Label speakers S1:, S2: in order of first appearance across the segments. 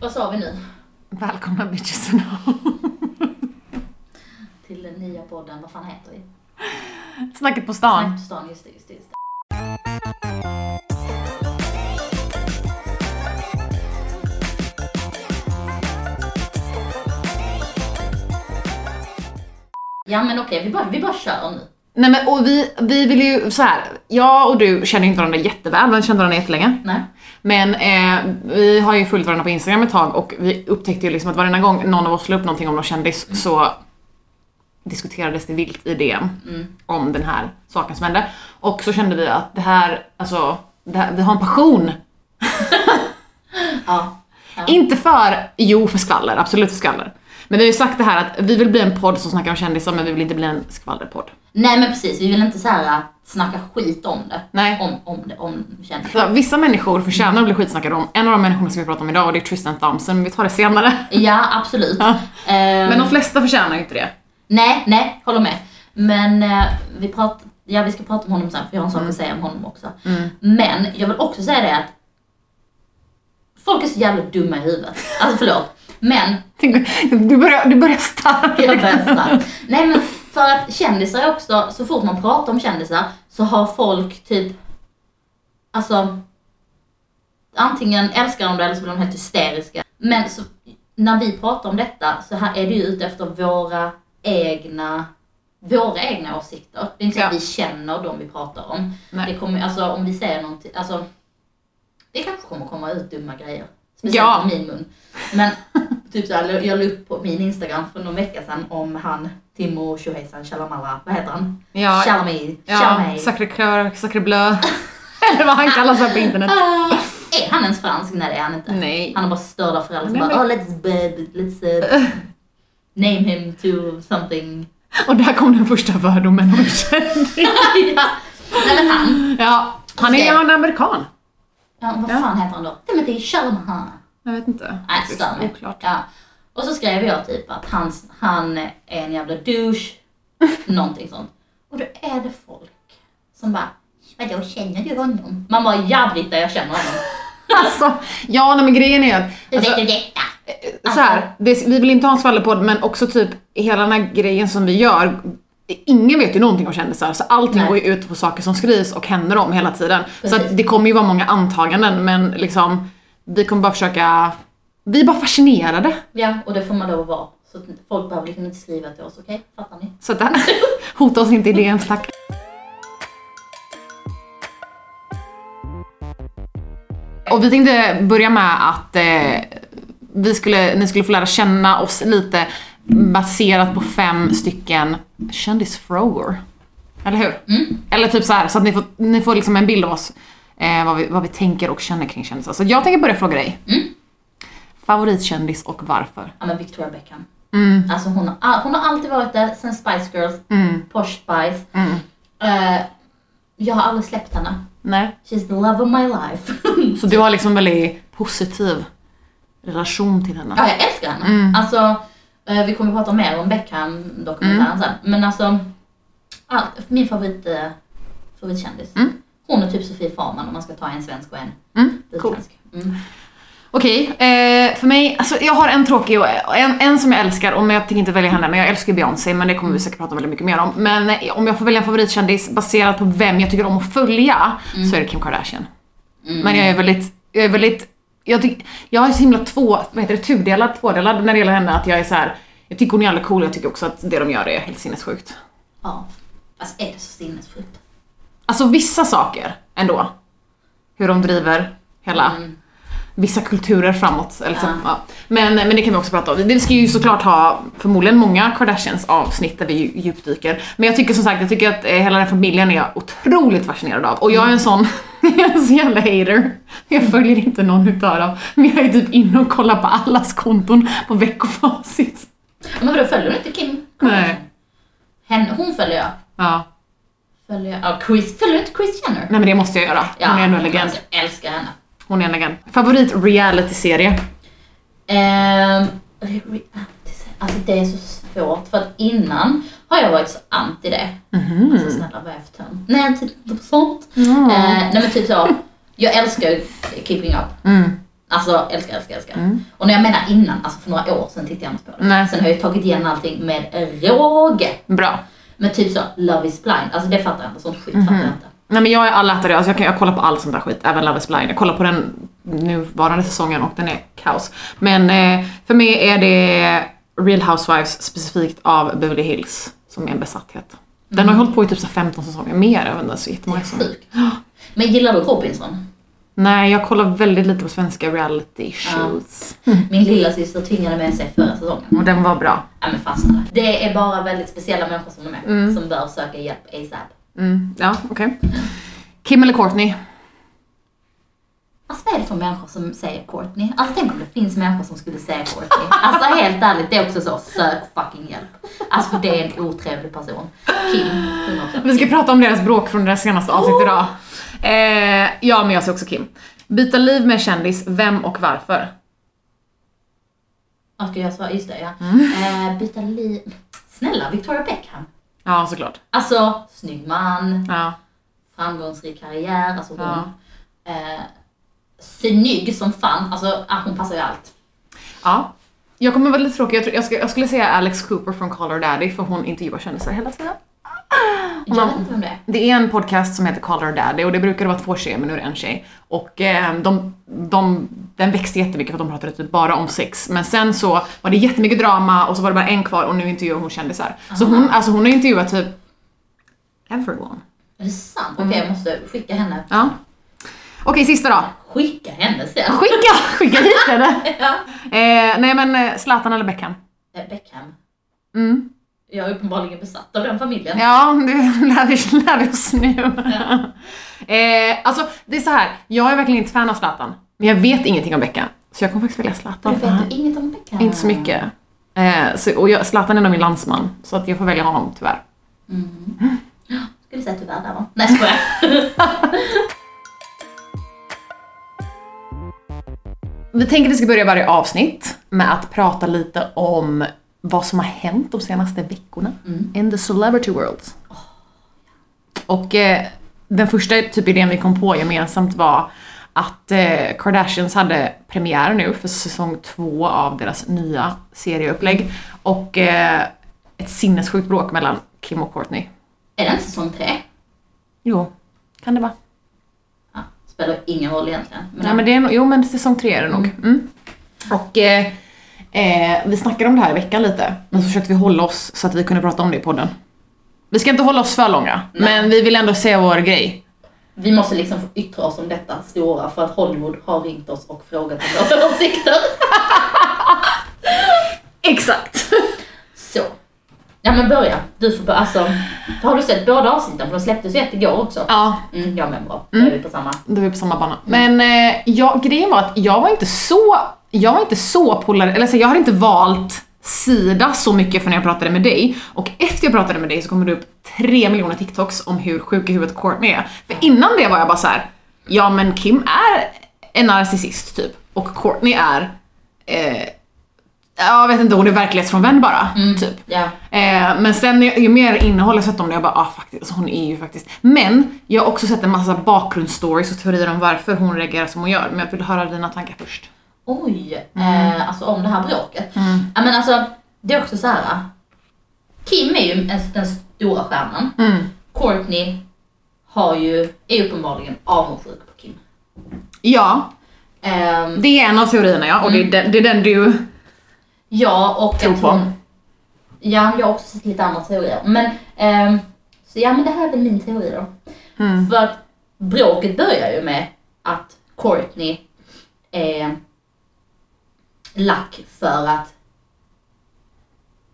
S1: Vad sa vi nu?
S2: Välkomna bitches and home.
S1: Till den nya podden, vad fan heter vi?
S2: Snacket på stan.
S1: Snack på stan, just det, just det, just det. Ja men okej, vi bara, vi bara kör nu.
S2: Nej men och vi, vi vill ju så här. jag och du känner ju inte varandra jätteväl, men känner varandra jättelänge.
S1: Nej.
S2: Men eh, vi har ju följt varandra på Instagram ett tag och vi upptäckte ju liksom att varenda gång någon av oss la upp någonting om någon kändis så diskuterades det vilt i DM om den här saken som hände. Och så kände vi att det här, alltså, det här, vi har en passion.
S1: Ja.
S2: Inte för, jo för skvaller, absolut för skvaller. Men vi har ju sagt det här att vi vill bli en podd som snackar om kändisar men vi vill inte bli en skvallerpodd.
S1: Nej men precis, vi vill inte så här äh, snacka skit om det.
S2: Nej.
S1: Om, om det, om kändisar.
S2: Så Vissa människor förtjänar att bli skitsnackade om. En av de människorna som vi pratar om idag och det är Tristan Thompson, men vi tar det senare.
S1: Ja absolut.
S2: Ja.
S1: Ehm,
S2: Men de flesta förtjänar ju inte det.
S1: Nej, nej, håller med. Men eh, vi pratar, ja vi ska prata om honom sen för jag har en sak att säga om honom också. Men jag vill också säga det att folk är så jävla dumma i huvudet. Alltså förlåt. Men,
S2: Tänk, du börjar, du börjar starkt.
S1: jag börjar så här. Nej men för att kändisar är också, så fort man pratar om kändisar så har folk typ, alltså antingen älskar de det eller så blir de helt hysteriska. Men så, när vi pratar om detta så här är det ju ute efter våra egna våra egna åsikter. Det är inte så att
S2: Ja.
S1: vi känner de vi pratar om.
S2: Nej.
S1: Det kommer, alltså, om vi säger någonting, alltså, det kanske kommer komma ut dumma grejer. Speciellt
S2: Ja.
S1: från min mun. Men typ så här, jag la upp på min Instagram för någon vecka sedan om han Timo Tjohejsan Chalamala, vad heter han?
S2: Ja.
S1: Chalami,
S2: Ja,
S1: Chalamay.
S2: sacré cœur, sacré bleu. Eller vad han kallas här på internet.
S1: Ah, är han ens fransk? Nej det är han inte.
S2: Nej.
S1: Han har bara störda föräldrar som
S2: Nej,
S1: bara,
S2: men-
S1: oh let's, bed, let's uh, name him to something.
S2: Och där kom den första fördomen om en kändis.
S1: ja. Nej men han,
S2: Ja, han är
S1: Okej.
S2: ju en amerikan.
S1: ja, vad
S2: Ja.
S1: fan heter han då? Timothy Chalamet.
S2: Jag vet inte.
S1: Nej,
S2: Faktiskt,
S1: stör mig.
S2: Oklart.
S1: Ja. Och så skrev jag typ att han, han är en jävla douche, någonting sånt. Och då är det folk som bara, vadå känner du honom? Man bara, ja Britta jag känner honom.
S2: Alltså, ja nej, men grejen är att...
S1: Hur
S2: Alltså, eh,
S1: vet du detta?
S2: så
S1: Alltså.
S2: här, det, vi vill inte ha en skvallerpodd men också typ hela den här grejen som vi gör Ingen vet ju någonting om kändisar så allting
S1: Nej.
S2: går ju ut på saker som skrivs och händer om hela tiden. Så
S1: Precis.
S2: att det kommer ju vara många antaganden men liksom vi kommer bara försöka, vi är bara fascinerade.
S1: Ja, och det får man då vara. Så att folk behöver liksom inte skriva till oss, okej? Fattar ni?
S2: Så att det här, hota oss inte i DMs tack. Och vi tänkte börja med att eh, vi skulle, ni skulle få lära känna oss lite baserat på fem stycken kändisfrågor. Eller hur? Eller typ så här, så att ni får, ni får liksom en bild av oss. Eh, vad, vi, vad vi tänker och känner kring kändisar. Så jag tänker börja fråga dig. Favoritkändis och varför?
S1: Ja men Victoria Beckham.
S2: Mm.
S1: Alltså hon har, all- hon har alltid varit där sen Spice Girls, Posh Spice.
S2: Mm.
S1: Eh, jag har aldrig släppt henne.
S2: Nej.
S1: She's the love of my life.
S2: Så du har liksom en väldigt positiv relation till henne?
S1: Ja, jag älskar henne.
S2: Mm.
S1: Alltså, eh, vi kommer att prata mer om Beckham-dokumentären
S2: Mm.
S1: sen. Men alltså, all, min favorit, eh, favoritkändis. Hon är typ Sofie Farman om man ska ta en svensk och en
S2: Mm, cool.
S1: utländsk. Mm.
S2: Okej, eh, för mig, alltså jag har en tråkig och en, en som jag älskar, och men jag tänker inte välja henne, men jag älskar Beyoncé, men det kommer vi säkert prata väldigt mycket mer om. Men eh, om jag får välja en favoritkändis baserat på vem jag tycker om att följa, så är det Kim Kardashian. Men jag är väldigt, jag är väldigt, jag, tyck, jag är så himla två, vad heter det, tudelad, tvådelad när det gäller henne, att jag är så här. jag tycker hon är jävla cool, jag tycker också att det de gör är helt sinnessjukt.
S1: Ja, fast är det så sinnessjukt?
S2: Alltså vissa saker ändå. Hur de driver hela, vissa kulturer framåt. Eller så,
S1: Mm. Ja.
S2: ja. men, men det kan vi också prata om. Vi ska ju såklart ha förmodligen många Kardashians avsnitt där vi ju- djupdyker. Men jag tycker som sagt, jag tycker att eh, hela den familjen är jag otroligt fascinerad av. Och jag är en sån, jag är en sån jävla hater. Jag följer inte någon utav dem. Men jag är typ inne och kollar på allas konton på veckofacit.
S1: Men vadå, följer du inte Kim?
S2: Nej.
S1: Henne, hon följer jag.
S2: Ja.
S1: Följer jag. Ja, Chris, följer du inte Chris Jenner?
S2: Nej men det måste jag göra.
S1: Ja,
S2: Hon är ändå en legend.
S1: alltså, Jag älskar henne.
S2: Hon är en legend. Favorit reality-serie?
S1: Ehm, reality- alltså det är så svårt för att innan har jag varit så anti det.
S2: Mhm.
S1: Alltså snälla vad är jag för tönt? Nej jag tittar inte på sånt. Eh, nej men typ så, jag älskar ju Keeping Up.
S2: Mm.
S1: Alltså älskar, älskar, älskar.
S2: Mm.
S1: Och när jag menar innan, alltså för några år sedan tittade jag inte på det.
S2: Nej.
S1: Sen har jag ju tagit igen allting med råge.
S2: Bra.
S1: Men typ så, Love is blind, alltså det fattar jag inte, sånt skit fattar jag
S2: Mhm.
S1: inte.
S2: Nej men jag är allätare, alltså jag, kan, jag kollar på all sån där skit, även Love is blind. Jag kollar på den nuvarande säsongen och den är kaos. Men eh, för mig är det Real Housewives specifikt av Beverly Hills som är en besatthet. Den har ju hållit på i typ så här 15 säsonger, mer, jag vet inte,
S1: Mm. Det
S2: så jättemånga
S1: är
S2: säsonger.
S1: sjukt. Men gillar du Robinson?
S2: Nej, jag kollar väldigt lite på svenska reality shows.
S1: Min lilla syster tvingade mig att se förra säsongen.
S2: Och den var bra.
S1: Ja men fastnade. Det är bara väldigt speciella människor som är med, som bör söka hjälp ASAP.
S2: Mm, ja, okej. Kim eller Courtney?
S1: Alltså vad är det för människor som säger Courtney? Alltså tänk om det finns människor som skulle säga Courtney. Alltså helt ärligt, det är också så, sök fucking hjälp. Alltså för det är en otrevlig person. Kim, 100%.
S2: Vi ska prata om deras bråk från deras senaste avsnitt idag. Eh, ja, men jag ser också Kim. Byta liv med kändis, vem och varför?
S1: Ja, ska jag svara? Just det, ja.
S2: Mm.
S1: Eh, byta liv. Snälla, Victoria Beckham.
S2: Ja, såklart.
S1: Alltså, snygg man,
S2: Ja.
S1: framgångsrik karriär, alltså hon.
S2: Ja.
S1: Eh, snygg som fan, alltså ah, hon passar ju allt.
S2: ja. Jag kommer vara lite tråkig, jag, tror, jag, ska, jag skulle säga Alex Cooper från Call Her Daddy för hon intervjuar kändisar hela tiden.
S1: Jag
S2: man-
S1: vet inte vem det är.
S2: Det är en podcast som heter Call Her Daddy och det brukar vara två tjejer men nu är det en tjej. Och eh, de, de, den växte jättemycket för att de pratade typ bara om sex. Men sen så var det jättemycket drama och så var det bara en kvar och nu intervjuar hon kändisar. Så hon, alltså hon har intervjuat typ everyone.
S1: Är det sant?
S2: Mm.
S1: Okej, jag måste skicka henne.
S2: Ja. Okej, sista då.
S1: Skicka henne sen.
S2: Skicka, skicka hit henne!
S1: Ja.
S2: Eh, nej men eh, Zlatan eller Beckham?
S1: Eh, Beckham.
S2: Mm.
S1: Jag är uppenbarligen besatt av den familjen.
S2: Ja, det lär vi, lär vi oss nu. eh, alltså, det är så här. jag är verkligen inte fan av Zlatan. Men jag vet ingenting om Beckham. Så jag kommer faktiskt välja Zlatan.
S1: Du
S2: för han-
S1: vet ju inget om Beckham.
S2: Inte så mycket. Eh, så, och jag, Zlatan är nog min landsman, så att jag får välja honom tyvärr.
S1: Mm. Ja, Skulle säga tyvärr där va? Nej jag skojar.
S2: Vi tänker att vi ska börja varje avsnitt med att prata lite om vad som har hänt de senaste veckorna
S1: Mm.
S2: in the celebrity world. Och eh, den första typ idén vi kom på gemensamt var att eh, Kardashians hade premiär nu för säsong två av deras nya serieupplägg och eh, ett sinnessjukt bråk mellan Kim och Courtney.
S1: Är det inte säsong tre?
S2: Jo, kan det vara.
S1: Ja, spelar ingen roll egentligen. Men,
S2: Nej, men det är, nog- jo men säsong tre är det nog. Mm. Och eh, eh, vi snackade om det här i veckan lite, men så försökte vi hålla oss så att vi kunde prata om det i podden. Vi ska inte hålla oss för långa, men vi vill ändå säga vår grej.
S1: Vi måste liksom få yttra oss om detta stora för att Hollywood har ringt oss och frågat om våra åsikter.
S2: Exakt!
S1: Så. Ja men börja. Du får börja. Alltså, har du sett båda avsnitten? För de släpptes ju ett igår också.
S2: Ja,
S1: Mm, jag med bra. Då är vi på samma.
S2: då är vi på samma bana. Men eh, jag, grejen var att jag var inte så, jag var inte så polariserad, eller så, jag hade inte valt sida så mycket för när jag pratade med dig och efter jag pratade med dig så kommer det upp tre miljoner TikToks om hur sjuk i huvudet Courtney är. För innan det var jag bara så här: ja men Kim är en narcissist typ och Courtney är, eh, jag vet inte, hon är verklighetsfrånvänd bara typ.
S1: Mm. Ja.
S2: Eh, men sen ju ju mer innehåll jag sett om det, jag bara ah faktiskt, alltså hon är ju faktiskt. Men jag har också sett en massa bakgrundsstories och teorier om varför hon reagerar som hon gör. Men jag vill höra dina tankar först.
S1: Oj,
S2: Mm.
S1: eh, alltså om det här bråket. Ja men alltså, det är också så här. eh, Kim är ju en- den stora stjärnan.
S2: Mm.
S1: Courtney har ju, är uppenbarligen avundsjuk på Kim.
S2: Ja,
S1: Ehm,
S2: det är en av teorierna ja, och det, är den, det är den du
S1: Ja, och
S2: tror
S1: jag tror...
S2: på.
S1: Ja, jag har också sett lite andra teorier. Men, ehm, så ja, men det här är väl min teori då.
S2: Mm.
S1: För att bråket börjar ju med att Courtney är lack för att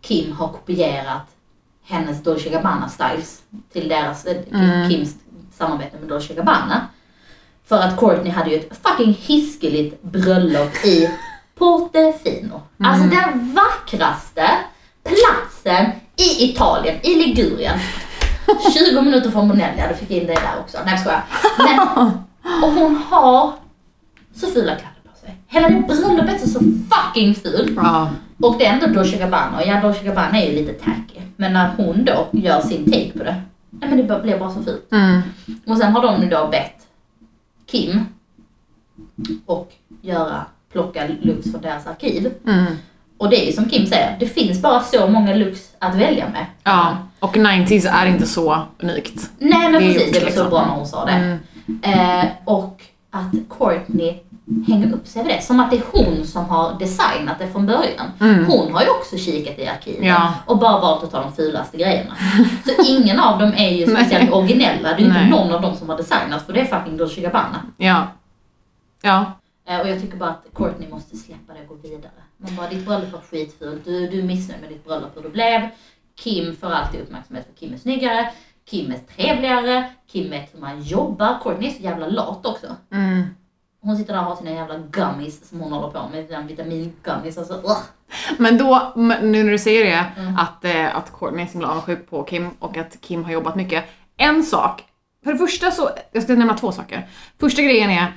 S1: Kim har kopierat hennes Dolce Gabbana styles till deras, mm. Kims samarbete med Dolce Gabbana. För att Courtney hade ju ett fucking hiskeligt bröllop i Portofino. Alltså den vackraste platsen i Italien, i Ligurien. 20 minuter från Bonelli, jag fick in det där också. Nej jag skojar. Men, och hon har så fula kläder på sig. Hela det bröllopet är så fucking fult.
S2: Ja.
S1: Och det är ändå Dolce Gabbana. Och ja, Dolce Gabbana är ju lite tacky. Men när hon då gör sin take på det. Nej men det bara- blev bara så fult.
S2: Mm.
S1: Och sen har de ju då bett Kim och göra, plocka looks från deras arkiv.
S2: Mm.
S1: Och det är ju som Kim säger, det finns bara så många looks att välja med.
S2: Ja, och 90s är inte så unikt.
S1: Nej men
S2: Det är
S1: precis, det var
S2: liksom.
S1: så bra när hon sa det.
S2: Mm.
S1: Eh, och att Courtney hänger upp sig vid det. Som att det är hon som har designat det från början. Hon har ju också kikat i arkiven
S2: Mm. Ja.
S1: och bara valt att ta de fulaste grejerna. Så ingen av dem är ju
S2: Nej.
S1: speciellt originella. Det är ju inte
S2: Nej.
S1: någon av dem som har designat för det är fucking Dolce Gabbana.
S2: Ja. Ja.
S1: Eh, och jag tycker bara att Courtney måste släppa det och gå vidare. Man bara, ditt bröllop var skitfult. Du, du är missnöjd med ditt bröllop hur det blev. Kim får alltid uppmärksamhet för Kim är snyggare. Kim är trevligare. Kim vet hur man jobbar. Courtney är så jävla lat också.
S2: Mm.
S1: Hon sitter där och har sina jävla gummies som hon håller på med, sina vitamingummies. Alltså, ugh.
S2: Men då, men nu när du säger det,
S1: Mm.
S2: att, eh, att Courtney är så himla avundsjuk på Kim och att Kim har jobbat mycket. En sak, för det första så, jag ska nämna två saker. Första grejen är,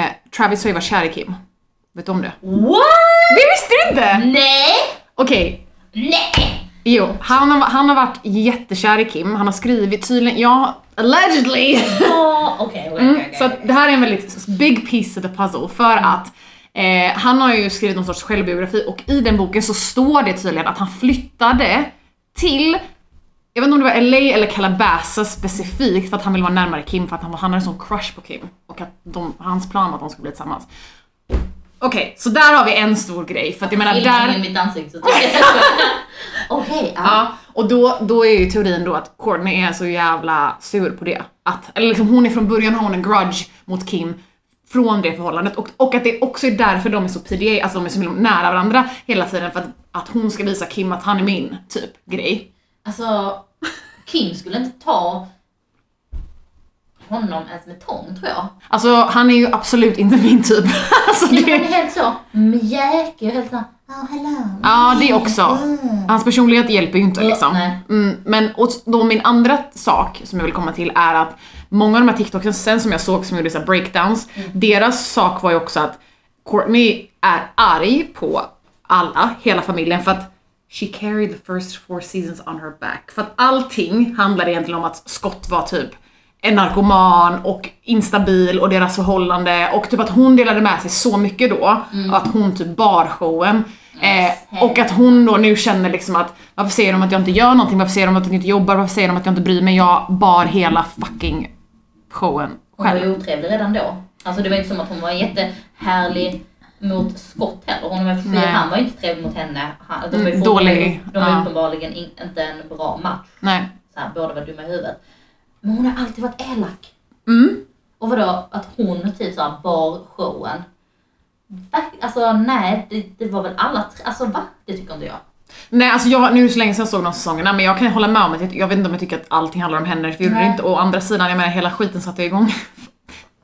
S2: eh, Travis har ju varit kär i Kim. Vet du om det?
S1: What?
S2: Det visste du
S1: Mm.
S2: inte!
S1: Nej!
S2: Okej,
S1: Nej!
S2: jo. Han har, han har varit jättekär i Kim, han har skrivit tydligen, ja, allegedly!
S1: Ja, Ah, Okej, okej,
S2: Mm,
S1: okej,
S2: så att
S1: okej.
S2: det här är en väldigt big piece of the puzzle för att eh, han har ju skrivit någon sorts självbiografi och i den boken så står det tydligen att han flyttade till, jag vet inte om det var LA eller Calabasas specifikt för att han ville vara närmare Kim för att han, var- han hade en sån crush på Kim och att de, hans plan var att de skulle bli tillsammans. Okej, så där har vi en stor grej för att jag menar
S1: Filmar
S2: där...
S1: in mitt ansikte så tycker jag- Okej, ja.
S2: Ja, och då, då är ju teorin då att Courtney är så jävla sur på det. Att, eller liksom hon är från början har hon en grudge mot Kim från det förhållandet och, och att det också är därför de är så PDA, alltså de är så himla nära varandra hela tiden för att, att hon ska visa Kim att han är min, typ grej.
S1: Alltså, Kim skulle inte ta honom ens med tång tror jag.
S2: Alltså han är ju absolut inte min typ. Alltså,
S1: Nej, men
S2: det,
S1: han är helt så mjäkig och helt såhär, oh hello.
S2: ja, det också. Hans personlighet hjälper ju inte
S1: Mm. Ja,
S2: liksom.
S1: nej.
S2: Mm, men och då min andra sak som jag vill komma till är att många av de här TikToksen sen som jag såg som gjorde så här breakdowns,
S1: Mm.
S2: deras sak var ju också att Courtney är arg på alla, hela familjen för att She carried the first four seasons on her back. För att allting handlade egentligen om att Scott var typ en narkoman och instabil och deras förhållande och typ att hon delade med sig så mycket då. Och att hon typ bar showen. Eh, och att hon då nu känner liksom att varför säger de att jag inte gör någonting? Varför säger de att jag inte jobbar? Varför säger de att jag inte bryr mig? Jag bar hela fucking showen
S1: Hon var
S2: själv.
S1: ju otrevlig redan då. Alltså det var ju inte som att hon var jättehärlig mot Scott heller. Hon var,
S2: Nej.
S1: han var ju inte trevlig mot henne. Han, de var ju
S2: Mm,
S1: fortfarande-
S2: dålig.
S1: De var
S2: Ja.
S1: uppenbarligen in, inte en bra match.
S2: Nej.
S1: Så här, båda var dumma i huvudet. Men hon har alltid varit elak.
S2: Mm.
S1: Och vadå att hon typ såhär bar showen. Verk- Alltså nej, det, det var väl alla tre, alltså va? Det tycker inte jag.
S2: Nej alltså jag, nu är det så länge sedan jag såg de säsongerna men jag kan hålla med om att jag, jag vet inte om jag tycker att allting handlar om henne, för det gjorde det
S1: Nej.
S2: inte. Å andra sidan, jag menar hela skiten satte jag igång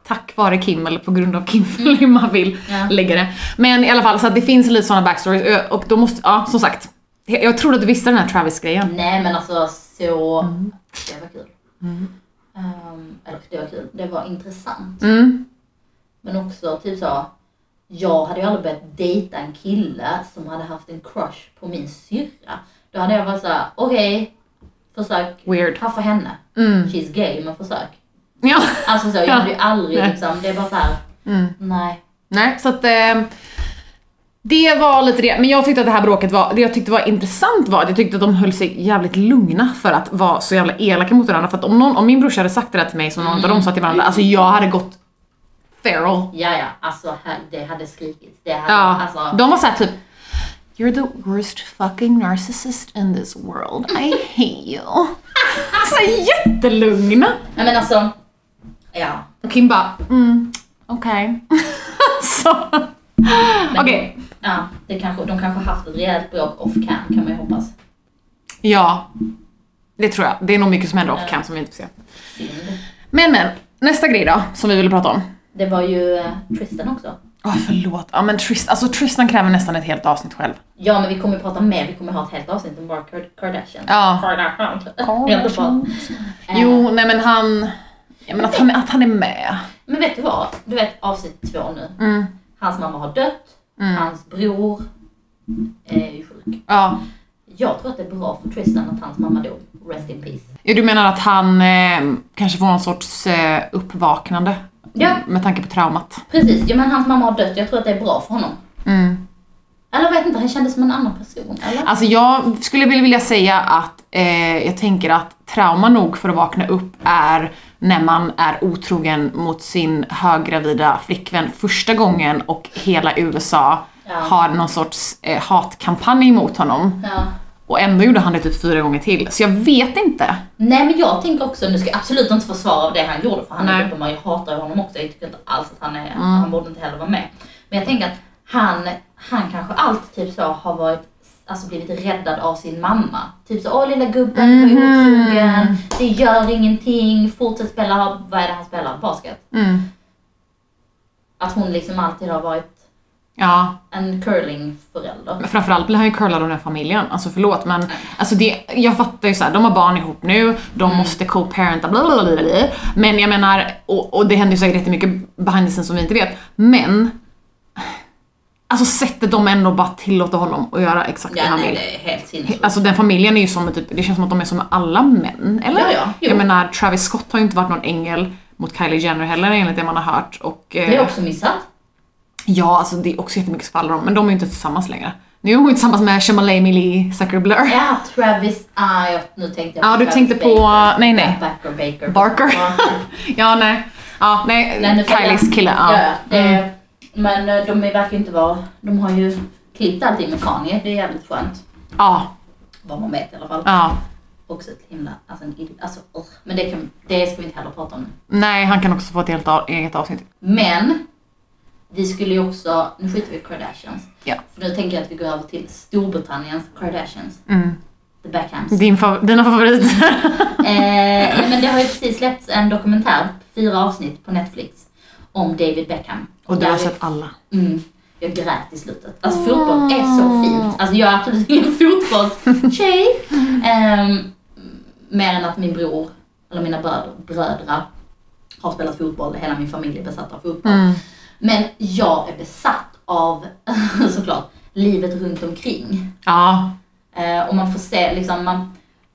S2: tack vare Kim eller på grund av Kim eller hur man vill
S1: Ja.
S2: lägga det. Men i alla fall så att det finns lite såna backstories ö, och då måste, ja som sagt. Jag jag trodde att du visste den här Travis-grejen.
S1: Nej men alltså så,
S2: Mm.
S1: det var kul. Ehm, eller det var kul, det var intressant.
S2: Mm.
S1: Men också typ så, jag hade ju aldrig börjat dejta en kille som hade haft en crush på min syrra. Då hade jag varit såhär, okej, försök
S2: Weird.
S1: haffa henne.
S2: Mm.
S1: She's gay men försök.
S2: Ja.
S1: Alltså så, jag
S2: Ja.
S1: hade ju aldrig
S2: Nej.
S1: liksom, det är bara såhär,
S2: Mm.
S1: nej.
S2: Nej så att eh, det var lite det, men jag tyckte att det här bråket var, det jag tyckte var intressant var att jag tyckte att de höll sig jävligt lugna för att vara så jävla elaka mot varandra. För att om, någon, om min brorsa hade sagt det där till mig som någon av dem sa till varandra, alltså jag hade gått feral.
S1: Ja ja, alltså här- det hade skrikits. Det hade,
S2: Ja,
S1: alltså,
S2: de var såhär typ You're the worst fucking narcissist in this world. I hate you. Alltså jättelugna.
S1: nej men alltså, ja.
S2: Och Kim bara, mm, okej. Så. Okej.
S1: Ja, det kanske, de kanske haft ett rejält bråk off cam kan man ju hoppas.
S2: Ja. Det tror jag. Det är nog mycket som händer off cam som vi inte får se.
S1: Synd.
S2: Men men, nästa grej då som vi ville prata om.
S1: Det var ju eh, Tristan också.
S2: Åh Ah, förlåt. Ja men Tristan, alltså Tristan kräver nästan ett helt avsnitt själv.
S1: Ja men vi kommer ju prata mer, vi kommer ha ett helt avsnitt om bara Kar- Kardashian.
S2: Ja.
S1: Kardashian. Kardashian. Eh,
S2: Jo, nej men han, ja, men att han, att han är med.
S1: Men vet du vad? Du vet avsnitt två nu.
S2: Mm.
S1: Hans mamma har dött, hans bror eh, är ju sjuk.
S2: Ja.
S1: Jag tror att det är bra för Tristan att hans mamma dog. Rest in peace.
S2: Ja, du menar att han eh, kanske får någon sorts eh, uppvaknande?
S1: Ja.
S2: Med tanke på traumat.
S1: Precis, ja, men hans mamma har dött. Jag tror att det är bra för honom.
S2: Mm.
S1: Eller jag vet inte, han kändes som en annan person. Eller?
S2: Alltså jag skulle vilja- vilja säga att eh, jag tänker att trauma nog för att vakna upp är när man är otrogen mot sin höggravida flickvän första gången och hela USA
S1: Ja.
S2: har någon sorts eh, hatkampanj mot honom.
S1: Ja.
S2: Och ändå gjorde han det typ fyra gånger till. Så jag vet inte.
S1: Nej men jag tänker också, nu ska jag absolut inte försvara av det han gjorde för han är
S2: Nej. Mm.
S1: uppenbar, jag hatar ju honom också. Jag tycker inte alls att han är, han borde inte heller vara med. Men jag tänker att han, han kanske alltid typ så har varit, alltså blivit räddad av sin mamma. Typ så, åh lilla gubben du var
S2: Mhm.
S1: otrogen, det gör ingenting, fortsätt spela, vad är det han spelar, basket?
S2: Mm.
S1: Att hon liksom alltid har varit
S2: Ja,
S1: en curlingförälder.
S2: Men Framförallt blir han ju curlad av den här familjen, alltså förlåt men alltså det, jag fattar ju såhär, de har barn ihop nu, de
S1: Mm.
S2: måste co-parenta bla, bla, bla, bla, bla. Men jag menar, och, och det händer ju säkert jättemycket behind the scenes som vi inte vet, men alltså sättet de ändå bara tillåter honom att göra exakt
S1: Ja
S2: det han
S1: nej
S2: vill.
S1: det är helt sinnessjukt.
S2: Alltså den familjen är ju som en typ, det känns som att de är som med alla män, eller?
S1: Ja, ja, jo.
S2: jag menar Travis Scott har ju inte varit någon ängel mot Kylie Jenner heller enligt det man har hört och... eh,
S1: Det är också missat.
S2: Ja, alltså det är också jättemycket som faller om, men de är ju inte tillsammans längre. Nu är hon ju tillsammans med Shamalay Millie Zucker Blur.
S1: Ja, Travis, ah, jag, nu tänkte jag
S2: Ja, du
S1: Travis
S2: tänkte på-
S1: Baker.
S2: nej, nej.
S1: Backer, Baker.
S2: Barker.
S1: Ja.
S2: Ja, nej. Ja, nej.
S1: Nej, nu får
S2: Kylies
S1: jag-
S2: kille.
S1: Ja,
S2: Ja. Mm.
S1: ja. Eh, Men eh, de verkar ju inte vara... De har ju klippt allting med Kanye. Det är jävligt skönt.
S2: Ja,
S1: Vad man vet i alla fall.
S2: ja.
S1: Också ett himla... Alltså, en, id- alltså ugh. Men det, kan, det ska vi inte heller prata om nu.
S2: Nej, han kan också få ett helt av, eget avsnitt.
S1: Men vi skulle ju också... Nu skiter vi i Kardashians.
S2: Ja.
S1: För nu tänker jag att vi går över till Storbritanniens Kardashians.
S2: Mm.
S1: The Backhams.
S2: Din fav- dina favoriter.
S1: Eh, nej, men det har ju precis släppts en dokumentär, fyra avsnitt på Netflix, om David Beckham.
S2: Och du har
S1: Där-
S2: sett Ah. alla.
S1: Mm, jag grät i slutet. Alltså fotboll är så fint. Alltså jag är absolut ingen fotbollstjej. Ehm, mer än att min bror, eller mina bröder, brödrar, har spelat fotboll. Hela min familj är besatt av fotboll.
S2: Mm.
S1: Men jag är besatt av, såklart, livet runt omkring.
S2: Ja.
S1: Eh, och man får se, liksom, man,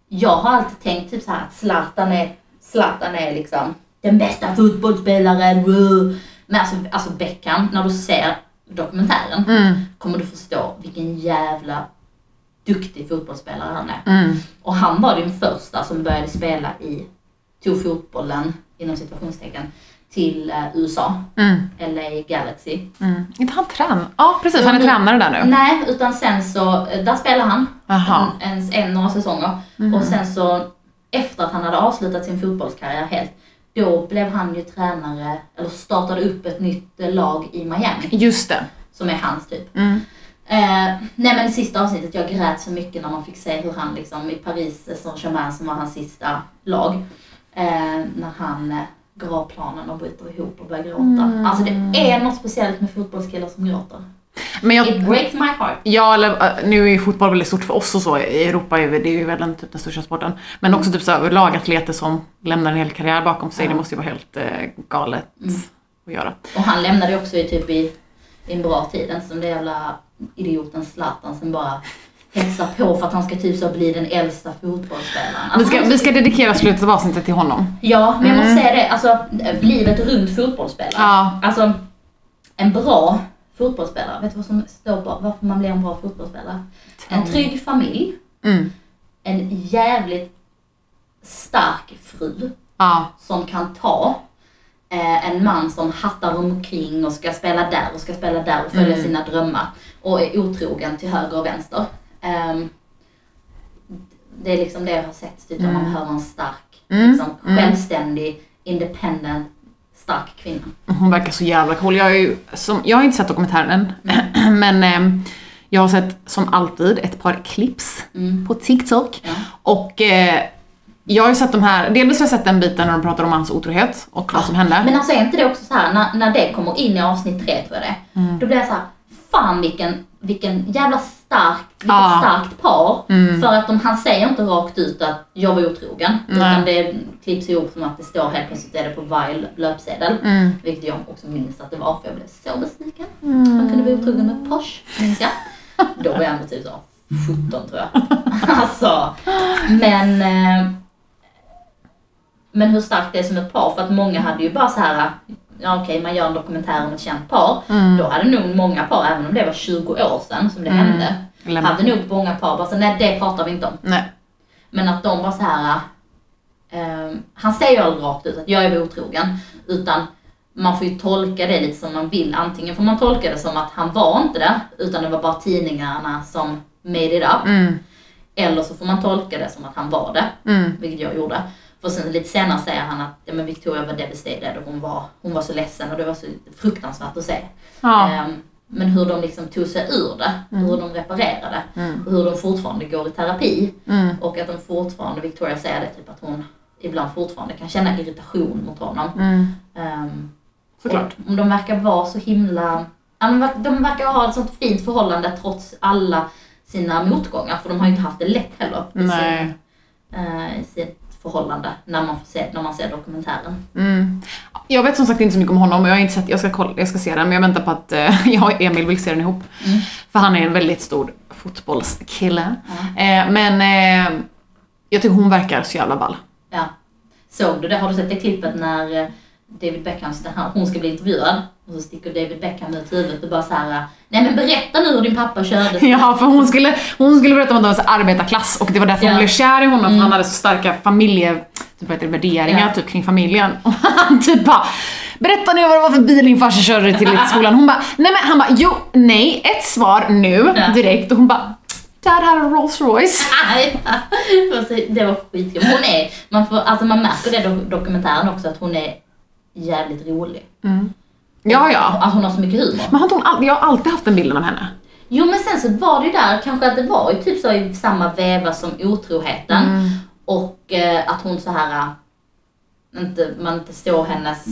S1: jag har alltid tänkt typ så här att Zlatan är, Zlatan är liksom den bästa fotbollsspelaren. woo. Men alltså, alltså Beckham, när du ser dokumentären
S2: Mm.
S1: kommer du förstå vilken jävla duktig fotbollsspelare han är.
S2: Mm.
S1: Och han var den första som började spela i, tog fotbollen inom situationstecken till eh, USA,
S2: Mm.
S1: LA Galaxy.
S2: Mm. Inte han trän? Ja, precis.
S1: Jo,
S2: Han är
S1: nu-
S2: tränare där nu.
S1: Nej, utan sen så, eh, där spelar han
S2: Aha. Mhm.
S1: en, en, en några säsonger. Och sen så, efter att han hade avslutat sin fotbollskarriär helt, då blev han ju tränare, eller startade upp ett nytt eh, lag i Miami,
S2: Just det.
S1: som är hans typ.
S2: Mm.
S1: Eh, nej men det sista avsnittet, jag grät så mycket när man fick se hur han liksom i Paris eh, Saint-Germain som var hans sista lag, eh, när han eh, går av planen och bryter ihop och börjar gråta.
S2: Mm.
S1: Alltså det är något speciellt med fotbollskillar som gråter.
S2: Men
S1: It
S2: jag...
S1: breaks my heart.
S2: Ja, eller eh, nu är ju fotboll väldigt stort för oss och så i Europa, är vi- det är ju väl den, typ, den största sporten. Men också typ så här, överlag atleter som lämnar en hel karriär bakom sig, det måste ju vara helt eh, galet
S1: Mm.
S2: att göra.
S1: Och han lämnade ju också i typ i, i en bra tid, inte som den jävla idioten Zlatan som bara hetsar på för att han ska typ så bli den äldsta fotbollsspelaren.
S2: Vi
S1: Alltså,
S2: ska, vi ska dedikera slutet av avsnittet till honom.
S1: Ja, men jag måste säga det, alltså livet runt fotbollsspelare.
S2: Ja.
S1: Alltså, en bra fotbollsspelare, vet du vad som står på varför man blir en bra fotbollsspelare? En trygg familj,
S2: Mm.
S1: en jävligt stark fru
S2: Ja,
S1: som kan ta eh, en man som hattar omkring och ska spela där och ska spela där och följa sina drömmar och är otrogen till höger och vänster. Ehm, det är liksom det jag har sett, typ, att man behöver en stark, liksom, självständig, independent, stark kvinna.
S2: hon verkar så jävla cool. Jag, är ju, som, jag har inte sett dokumentären än,
S1: Mm.
S2: men ehm, jag har sett som alltid ett par clips på TikTok.
S1: Mm. Ja.
S2: Och eh, jag har ju sett de här, delvis har jag sett den biten när de pratar om hans otrohet och vad som hände.
S1: Men alltså är inte det också så här när, när det kommer in i avsnitt tre tror jag det
S2: Mm.
S1: är, då blir jag så här, fan vilken, vilken jävla stark, vilket
S2: Ja. Mm.
S1: starkt par. För att de, han säger inte rakt ut att jag var otrogen, utan det klipps ihop som att det står helt plötsligt är det på varje löpsedel.
S2: Mm.
S1: Vilket jag också minns att det var, för jag blev så besviken.
S2: Mm.
S1: Man kunde vara otrogen med Porsche, minns jag. Då var jag ändå typ så 17 tror jag. Alltså, men eh, men hur starkt det är som ett par. För att många hade ju bara så här ja, okej, man gör en dokumentär om ett känt par. Då hade nog många par, även om det var 20 år sedan som det hände,
S2: Lämna.
S1: hade nog många par bara så nej det pratar vi inte om.
S2: Nej.
S1: Men att de var så här. ehm, han säger ju aldrig rakt ut att jag är otrogen. Utan man får ju tolka det lite som man vill. Antingen får man tolka det som att han var inte det, utan det var bara tidningarna som made it up.
S2: Mm.
S1: Eller så får man tolka det som att han var det,
S2: Mm.
S1: vilket jag gjorde. För sen lite senare säger han att ja, men Victoria var devastated och hon var, hon var så ledsen och det var så fruktansvärt att se.
S2: Ja.
S1: Ehm, Men hur de liksom tog sig ur det, hur de reparerade
S2: Mm.
S1: och hur de fortfarande går i terapi.
S2: Mm.
S1: Och att de fortfarande, Victoria säger det, typ att hon ibland fortfarande kan känna irritation mot honom.
S2: Mm.
S1: Ehm,
S2: Såklart.
S1: och de verkar vara så himla, ja, de verkar- de verkar ha ett sånt fint förhållande trots alla sina motgångar. För de har ju inte haft det lätt heller i, sin,
S2: Nej.
S1: eh, i sitt förhållande när man, får se, när man ser dokumentären.
S2: Mm. Jag vet som sagt inte så mycket om honom och jag har inte sett, jag ska, kolla, jag ska se den men jag väntar på att eh, jag och Emil vill se den ihop.
S1: Mm.
S2: För han är en väldigt stor fotbollskille. Eh, men eh, jag tycker hon verkar så jävla ball.
S1: Ja. Såg du det? Har du sett det klippet när eh, David Beckham, när han- hon ska bli intervjuad och så sticker David Beckham ut huvudet och bara så här, nej men berätta nu hur din pappa körde.
S2: Ja, för hon skulle, hon skulle berätta om att de var så här arbetarklass och det var därför
S1: Ja. Mm.
S2: hon blev kär i honom för han hade så starka familje, typ vad heter det, värderingar
S1: Ja.
S2: typ, kring familjen. Och han typ bara Berätta nu vad det var för bil din farsa körde till i skolan. Hon bara, nej men han bara, jo, nej, ett svar nu
S1: Ja.
S2: direkt och hon bara, Dad hade en Rolls Royce.
S1: Nej, alltså, det var skitkul. Hon är, man, får, alltså man märker det i do- dokumentären också att hon är jävligt rolig.
S2: Ja, ja.
S1: Alltså hon har så mycket humor.
S2: Men har inte hon, all- jag har alltid haft den bilden av henne.
S1: Jo men sen så var det ju där kanske att det var ju typ så i samma veva som otroheten.
S2: Mm.
S1: Och eh, att hon så här äh, inte, man inte står hennes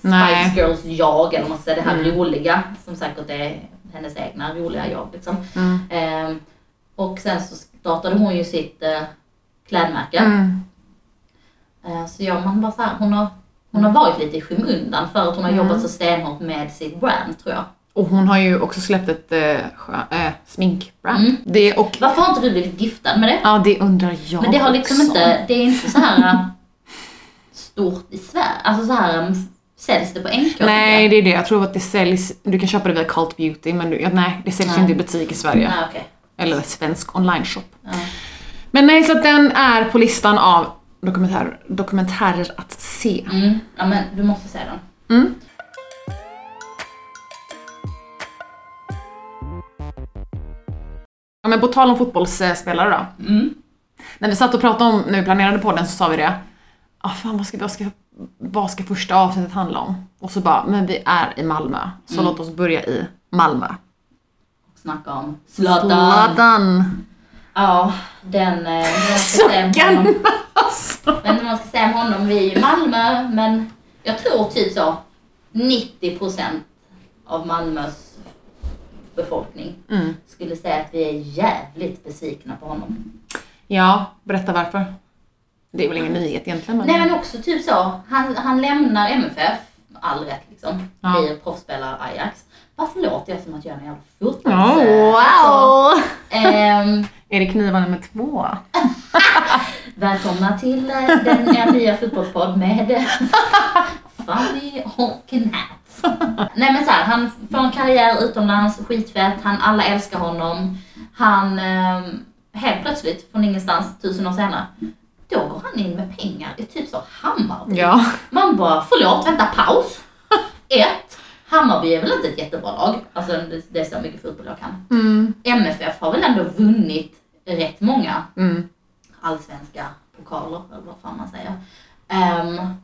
S2: Nej. Mm.
S1: Spice Girls jag eller vad man ska säga, det här roliga som säkert är hennes egna roliga jag liksom.
S2: Mm.
S1: Ehm, och sen så startade hon ju sitt eh, klädmärke.
S2: Mm.
S1: Eh, Så ja, man bara så här, hon, har, hon
S2: Mm.
S1: har varit lite i skymundan för att hon har jobbat så stenhårt med sitt brand tror jag.
S2: Och hon har ju också släppt ett eh, skö- eh, sminkbrand.
S1: Mm.
S2: Det, och,
S1: Varför har inte du blivit giftad med det?
S2: ja, det undrar jag
S1: Men det har liksom
S2: också.
S1: inte, det är inte så här eh, stort i Sverige. Alltså så här eh, säljs det på NK?
S2: Nej, det är det. Jag tror att det säljs, du kan köpa det via Cult Beauty men du, ja, nej, det säljs
S1: Nej.
S2: inte i butik i Sverige.
S1: Nej, Ah, okej.
S2: Eller svensk online-shop.
S1: Ja.
S2: Men nej, så att den är på listan av dokumentär, dokumentärer att se.
S1: Mm. Ja, men du måste säga den.
S2: Mm. Ja, men på tal om fotbollsspelare då.
S1: Mm.
S2: När vi satt och pratade om, när vi planerade podden så sa vi det. Ah, fan, vad, ska, vad, ska, vad ska första avsnittet handla om? Och så bara, men vi är i Malmö. Så
S1: Mm.
S2: låt oss börja i Malmö.
S1: Snacka om Zlatan.
S2: Zlatan.
S1: Ja, den... eh, den ska säga om honom.
S2: Suckan! Alltså.
S1: Men om man ska säga om honom, vi är i Malmö, men jag tror typ så 90% av Malmös befolkning
S2: Mm.
S1: skulle säga att vi är jävligt besvikna på honom.
S2: Ja, berätta varför. Det är väl ingen nyhet egentligen men...
S1: Nej men också typ så, han, han lämnar MFF, med all rätt liksom,
S2: Ja.
S1: blir proffsspelare Ajax. Varför låter jag som att jag är en jävla fotbolls...
S2: Ja,
S1: alltså,
S2: wow!
S1: ehm,
S2: Är det knivar nummer två?
S1: välkomna till eh, den eh, nya fotbollspodd med eh, Fanny och Nat. Nej men så här, han får en karriär utomlands, skitfett, han, alla älskar honom. Han, eh, helt plötsligt, från ingenstans, tusen år senare, då går han in med pengar i typ så Hammarby.
S2: Ja.
S1: Man bara, förlåt, vänta, paus. Ett, Hammarby är väl inte ett jättebra lag. Alltså det, det är så mycket fotboll jag kan.
S2: Mm.
S1: MFF har väl ändå vunnit rätt många
S2: Mm.
S1: allsvenska pokaler, eller vad fan man säger. Ehm,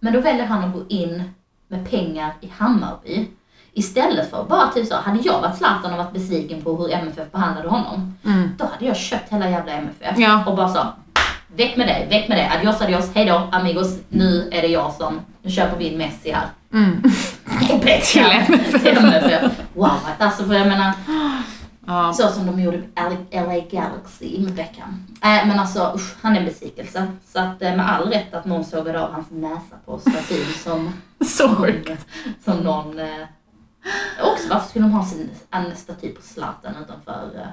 S1: men då väljer han att gå in med pengar i Hammarby. Istället för bara typ så, hade jag varit Zlatan och varit besviken på hur MFF behandlade honom,
S2: Mm.
S1: då hade jag köpt hela jävla MFF
S2: Ja.
S1: och bara så, väck med dig, väck med dig, adios adios, hejdå amigos, nu är det jag som, nu köper vi in Messi här.
S2: Mm. Till MFF.
S1: Till MFF. Wow, alltså för jag menar,
S2: Ja.
S1: så som de gjorde med LA Galaxy med Beckham. Äh, men alltså usch, han är en besvikelse. Så att eh, med all rätt att någon sågade av hans näsa på statyn som,
S2: Så sjukt.
S1: som någon... Eh, också varför skulle de ha sin, en staty på Zlatan utanför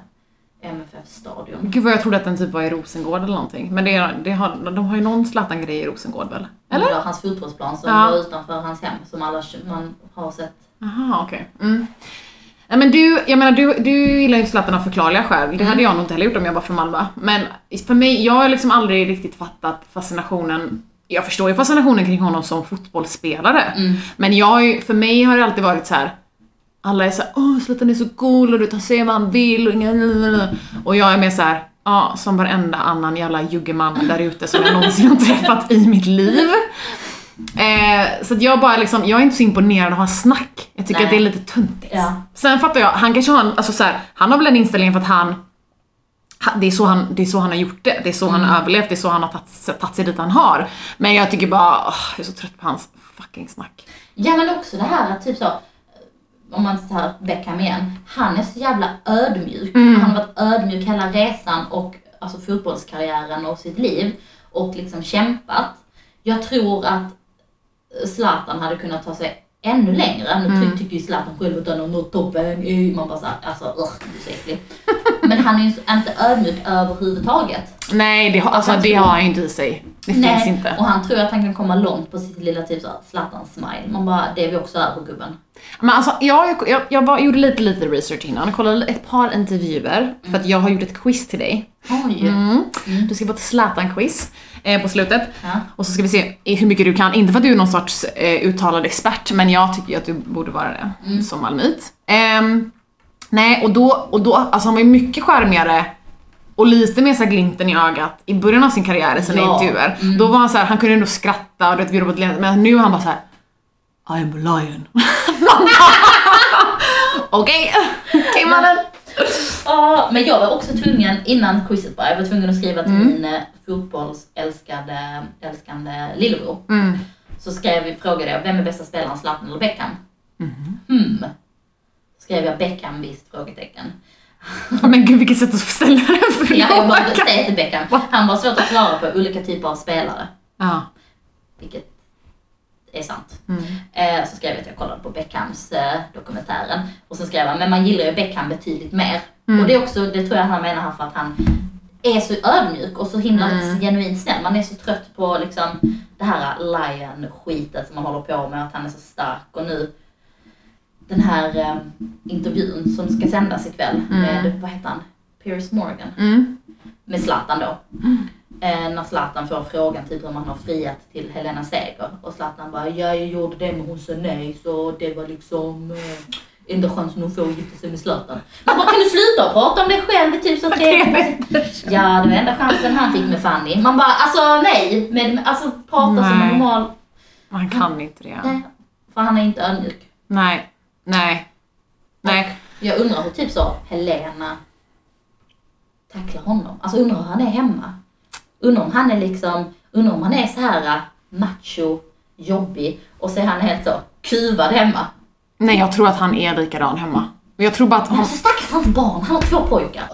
S1: MFF-stadion.
S2: Gud vad jag trodde att den typ var i Rosengård eller någonting. Men det, är- det har, de har ju någon Zlatan-grej i Rosengård väl? Eller?
S1: Eller? Hans fotbollsplan som
S2: Ja.
S1: var utanför hans hem som alla man har sett.
S2: Aha, okej. Mm. Nej, men du, jag menar, du, du gillar ju Zlatan av förklarliga skäl. Det hade jag nog inte heller gjort om jag var från Malmö. Men för mig, jag har liksom aldrig riktigt fattat fascinationen. Jag förstår ju fascinationen kring honom som fotbollsspelare. Men jag, har ju- för mig har det alltid varit så här. Alla är så här, åh Zlatan är så cool och du tar se vad han vill och nja, nja, nja." Och jag är mer så här. Ja, som varenda annan jävla juggeman där ute som jag någonsin har träffat i mitt liv. Eh, så att jag bara liksom, jag är inte så imponerad av hans snack. Jag tycker
S1: Nej.
S2: att det är lite töntigt.
S1: Ja.
S2: Sen fattar jag, han kanske har en, alltså så här, han har väl en inställning för att han, ha- det är, så han, det är så han har gjort det, det är så han har överlevt, det är så han har tagit- tagit sig dit han har. Men jag tycker bara, åh, jag är så trött på hans fucking snack.
S1: Ja men också det här att typ så, om man tar Beckham igen, han är så jävla ödmjuk.
S2: Mm.
S1: Han har varit ödmjuk hela resan och alltså fotbollskarriären och sitt liv och liksom kämpat. Jag tror att Zlatan hade kunnat ta sig ännu längre. Nu
S2: Mm.
S1: ty- tycker ju Zlatan själv att han har nått toppen. eh, Man bara såhär, alltså urgh, du är så äcklig. Men han är ju så- inte ödmjuk överhuvudtaget.
S2: Nej, det, har- alltså,
S1: Han
S2: det
S1: tror-
S2: har han ju inte i sig. Det finns inte.
S1: Och han tror att han kan komma långt på sitt lilla typ såhär Zlatan-smile. Man bara, det är vi också över gubben.
S2: Men alltså, jag, jag, jag bara gjorde lite, lite research innan, jag kollade ett par intervjuer, för att jag har gjort ett quiz till dig.
S1: Oj.
S2: Mm. Du ska få ett Zlatan-quiz eh, på slutet.
S1: Ja.
S2: Och så ska vi se i- hur mycket du kan. Inte för att du är någon sorts eh, uttalad expert, men jag tycker ju att du borde vara det
S1: Mm.
S2: som malmöit. Ehm, nej, och då, och då, alltså han var ju mycket charmigare och lite mer så här glimten i ögat i början av sin karriär i sina
S1: Ja. Mm.
S2: intervjuer. Då var han så här, han kunde ändå skratta och du vet, bjuda på ett leende, men nu är han bara så här. I am a lion. Man bara, Okej, okej mannen.
S1: Ja, men jag var också tvungen innan quizet började, jag var tvungen att skriva till min eh, fotbollsälskade älskande lillebror.
S2: Mm.
S1: Så skrev vi, frågade jag, vem är bästa spelaren, Zlatan eller Beckham? Hmm. Skrev jag Beckham visst? Frågetecken.
S2: Men gud vilket sätt att ställa den för
S1: Ja, jag måste säga till Beckham. Han var svårt att svara på olika typer av spelare,
S2: Ja.
S1: vilket är sant. Eh, så skrev jag att jag kollade på Beckhams eh, dokumentären. Och sen skrev han, men man gillar ju Beckham betydligt mer. Och det är också, det tror jag han menar här för att han är så ödmjuk och så himla genuint snäll. Man är så trött på liksom det här lion-skitet som man håller på med, att han är så stark. Och nu den här eh, intervjun som ska sändas ikväll med, vad heter han, Piers Morgan
S2: Mm.
S1: med Zlatan då. Eh, när Zlatan får frågan typ hur man har friat till Helena Seger och Zlatan bara ja, jag gjorde det men hon sa nej så det var liksom eh, enda chansen hon får att gifta sig med Zlatan. Man bara kan du sluta prata om dig själv i typ så tre Ja det var enda chansen han fick med Fanny. Man bara alltså nej, men alltså prata som en
S2: Nej.
S1: normal.
S2: Man kan inte det.
S1: Nej, för han är inte ödmjuk.
S2: Nej, nej, nej.
S1: Jag undrar hur typ så Helena tacklar honom. Alltså undrar hur han är hemma. Undrar om han är liksom, undrar om han är så här äh, macho, jobbig och så är han helt så kuvad hemma.
S2: Nej, jag tror att han är likadan hemma. Men Jag tror bara att han...
S1: Alltså stackars hans barn, han har två pojkar.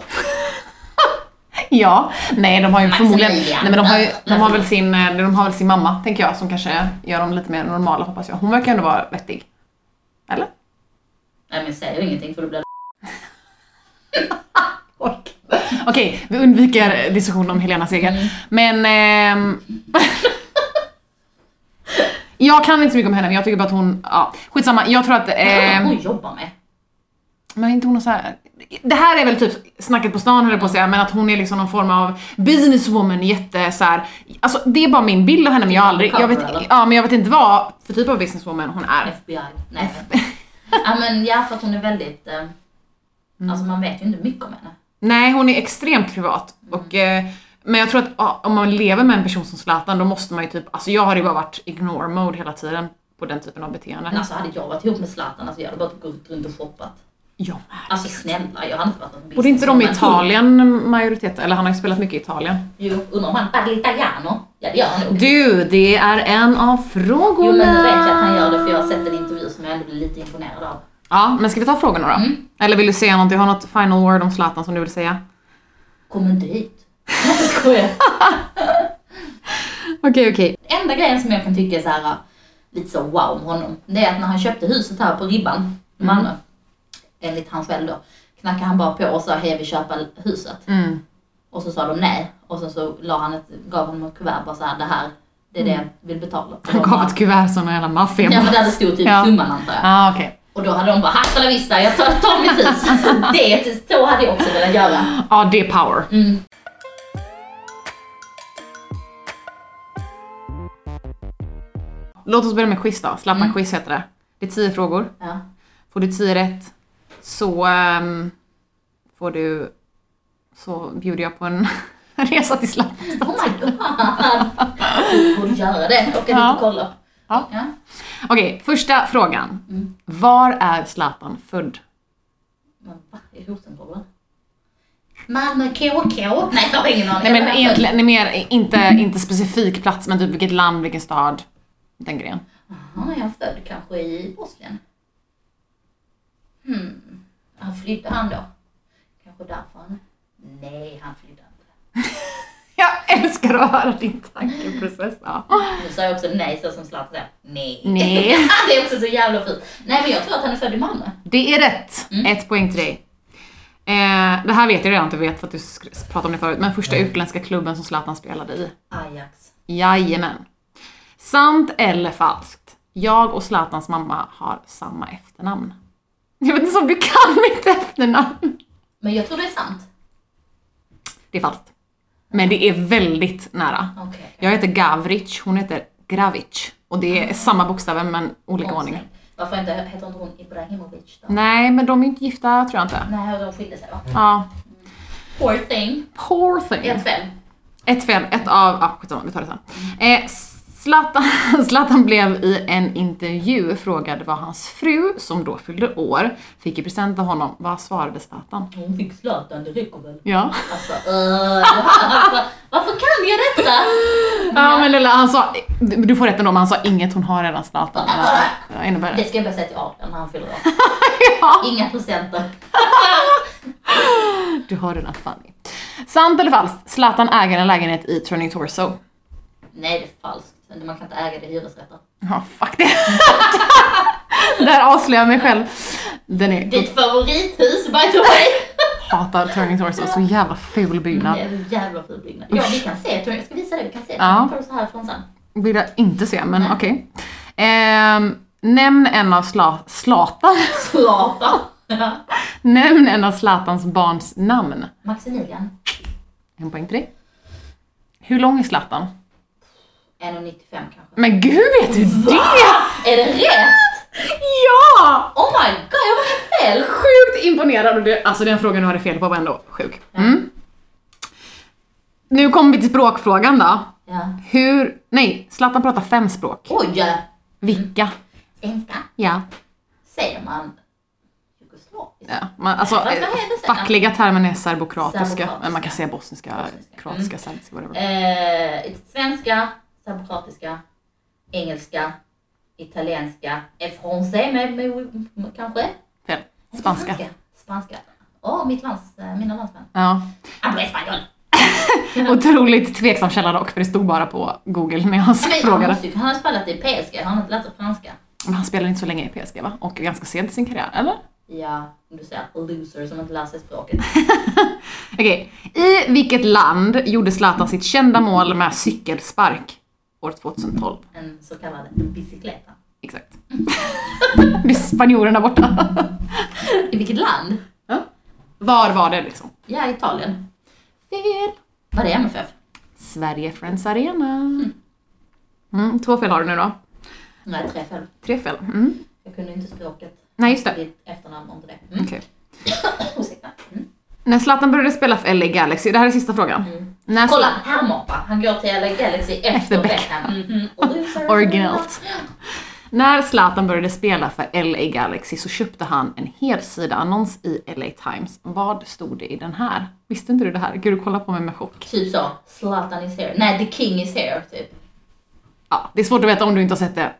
S2: Ja, nej de har ju förmodligen... Nej
S1: Maximilian.
S2: men de har ju, de har
S1: Maximilian.
S2: väl sin, eh, de har väl sin mamma, tänker jag, som kanske gör dem lite mer normala hoppas jag. Hon verkar ändå vara vettig. Eller?
S1: Nej men säger ingenting för då blir det
S2: Ork. Okej, vi undviker diskussion om Helena Seger.
S1: Mm.
S2: Men... ehm, jag kan inte så mycket om henne, men jag tycker bara att hon... Ja, skitsamma. Jag tror att...
S1: vad
S2: ehm,
S1: hon jobbar med.
S2: Men inte hon har så här. Det här är väl typ snacket på stan höll jag på att säga, men att hon är liksom någon form av businesswoman, jätte så här. Alltså det är bara min bild av henne men jag har aldrig,
S1: Typ
S2: jag vet,
S1: Power, eller?
S2: ja men jag vet inte vad för typ av businesswoman hon är.
S1: FBI. Nej. ja men ja för att hon är väldigt, eh, alltså man vet ju inte mycket om henne.
S2: Nej hon är extremt privat
S1: Mm.
S2: och eh, men jag tror att ja, om man lever med en person som Zlatan då måste man ju typ, alltså jag har ju bara varit ignore mode hela tiden på den typen av beteende.
S1: Men alltså hade jag varit ihop med Zlatan, alltså jag hade bara gått runt och shoppat.
S2: Jag med.
S1: Alltså snälla, jag hade inte varit någon
S2: Borde inte de i
S1: businesswoman.
S2: Italien majoritet, eller han har ju spelat mycket i Italien.
S1: Jo, undrar om han parlar italiano? Ja det gör han nog.
S2: Du, det är en av frågorna!
S1: Jo men nu vet jag att han gör det för jag har sett en intervju som jag ändå blir lite imponerad av.
S2: Ja, men ska vi ta frågorna då? Eller vill du säga något? Jag har något final word om Zlatan som du vill säga.
S1: Kom inte hit. Jag skojar.
S2: Okej, okej.
S1: Enda grejen som jag kan tycka är så här lite så
S2: Mm.
S1: wow med honom. Det är att när han köpte huset här på Ribban i Malmö. Enligt han själv då. knackade han bara på och sa hej vi köper huset.
S2: Mm.
S1: Och så sa de nej. Och sen så la han ett, gav honom ett kuvert bara såhär det här, det är det jag vill betala. Och
S2: Mm. Han
S1: de
S2: gav
S1: bara-
S2: ett kuvert som en jävla maffia.
S1: Ja men där det stod typ
S2: Ja.
S1: summan antar jag.
S2: ah, okej.
S1: Och då hade de bara hasta la vista, jag tar, tar mitt hus. det, så hade jag också velat göra.
S2: Ja, det är power.
S1: Mm.
S2: Låt oss börja med quiz då.
S1: Mm.
S2: Zlatan-quiz heter det. Det är tio frågor.
S1: Ja.
S2: Får du tio rätt så ehm, får du... Så bjuder jag på en resa till Zlatan.
S1: Oh my god! Du borde göra det. Åka dit
S2: Ja.
S1: och kolla.
S2: Ja.
S1: Ja.
S2: Okej, första frågan.
S1: Mm.
S2: Var är Zlatan född?
S1: Men va? I Rosengård va? Malmö KK? Nej jag har ingen aning.
S2: Nej men egentligen, nej, mer, inte, inte specifik plats men typ vilket land, vilken stad, den grejen.
S1: Jaha, jag är född kanske i Bosnien. Hmm. Han flydde han då? Kanske därför han... Nej, han flydde inte.
S2: Jag älskar att höra din tankeprocess. Ja.
S1: Nu sa jag också nej så som Zlatan säger. Nej.
S2: Nej.
S1: det är också så jävla fint. Nej men jag tror att han är född i Malmö.
S2: Det är rätt! Ett poäng till dig. Eh, det här vet jag redan att du vet för att du sk- pratade om det förut, men första utländska klubben som Zlatan spelade i.
S1: Ajax.
S2: Jajamän. Sant eller falskt? Jag och Zlatans mamma har samma efternamn. Jag vet inte om du kan mitt efternamn.
S1: Men jag tror det är sant.
S2: Det är falskt. Men det är väldigt nära.
S1: Okej.
S2: Jag heter Gavric, hon heter Gravic. Och det är samma bokstäver men olika ordning.
S1: Konstigt. Varför inte, heter inte hon Ibrahimovic då?
S2: Nej, men de är ju inte gifta tror jag inte.
S1: Nej, de skilde sig va?
S2: Ja.
S1: Poor thing.
S2: Poor thing.
S1: Ett fel.
S2: Ett fel, ett av... Ja, skitsamma, vi tar det sen. Eh, Zlatan, Zlatan blev i en intervju frågad vad hans fru, som då fyllde år, fick i present av honom. Vad svarade Zlatan?
S1: Hon fick Zlatan, det räcker väl?
S2: Ja.
S1: Alltså, uh, alltså, varför kan jag detta?
S2: Ja men lilla, han sa... Du får rätt ändå, men han sa inget, hon har redan Zlatan. Ja, ja, ännu
S1: Det
S2: värre.
S1: ska jag bara säga till Adrian när han fyller år.
S2: Ja,
S1: Inga presenter.
S2: du har redan Fanny. Sant eller falskt? Zlatan äger en lägenhet i Turning Torso.
S1: Nej, det är falskt. Man kan inte äga det i hyresrätter.
S2: Ja, fuck det. Där avslöjar jag mig själv. Den är...
S1: Ditt favorithus by the way.
S2: Hatar Turning Torso, så jävla ful byggnad.
S1: Det är en jävla ful byggnad. Ja, vi kan se. Tror jag jag ska visa dig. Vi kan se.
S2: Ja.
S1: Ja. Tar du så här från sen.
S2: vill jag inte se, men
S1: Nej.
S2: okej. Ehm, nämn en av sla- Zlatan.
S1: Zlatan. Ja.
S2: nämn en av Zlatans barns namn.
S1: Maximilian.
S2: En poäng till dig. Hur lång är Zlatan?
S1: 1,95 kanske.
S2: Men gud, vet du det?
S1: Är det rätt?
S2: Ja!
S1: Oh my god, jag var helt fel!
S2: Sjukt imponerad. och det- Alltså den frågan du hade fel på var ändå sjuk. Mm. Nu kommer vi till språkfrågan då.
S1: Ja.
S2: Hur... Nej, Zlatan pratar fem språk.
S1: Oj!
S2: Vilka?
S1: Svenska.
S2: Ja.
S1: Säger man jugoslaviskt?
S2: Ja, man, alltså,
S1: Vad- vad
S2: eh,
S1: heter det sen?
S2: fackliga termen är serbokroatiska,
S1: Serbokroatiska.
S2: men man kan säga bosniska,
S1: Bosniska. Mm.
S2: kroatiska, serbiska, whatever.
S1: Eh, svenska, serbokroatiska, engelska, italienska, eh, français med, med, med, kanske?
S2: Fel. Spanska.
S1: Spanska. Åh, mitt lands, eh, mina landsmän. Ah,
S2: Ja.
S1: Habla español!
S2: Otroligt tveksam källa dock, för det stod bara på google när jag
S1: Men Han,
S2: frågade.
S1: måste ju- han har spelat i PSG, han har inte lärt sig franska.
S2: Men han spelade inte så länge i PSG va? Och ganska sent i sin karriär, eller?
S1: Ja, om du säger loser som inte lär sig språket.
S2: Okej. I vilket land gjorde Zlatan sitt kända mål med cykelspark? År 2012.
S1: En så kallad bicicleta.
S2: Exakt. det är spanjorerna borta.
S1: I vilket land?
S2: Var var det liksom?
S1: Ja, Italien.
S2: Fel.
S1: Var det MFF?
S2: Sverige Friends Arena. Mm, två fel har du nu då.
S1: Nej, tre fel.
S2: Tre fel. Mm.
S1: Jag kunde inte språket.
S2: Nej, just det.
S1: Mitt efternamn och inte det. Mm.
S2: Okej.
S1: Ursäkta. Mm.
S2: När Zlatan började spela för LA Galaxy, det här är sista frågan. När
S1: Kolla, här moppar. Han går till LA Galaxy Alltså- efter
S2: Efter
S1: Beckham. Mhm. Och loser.
S2: Originalt. När Zlatan började spela för LA Galaxy så köpte han en helsidaannons i LA Times. Vad stod det i den här? Visste inte du det här? Gud, du kollar på mig med chock.
S1: Typ så. Zlatan is here. Nej, the king is here. Typ.
S2: Ja, det är svårt att veta om du inte har sett det.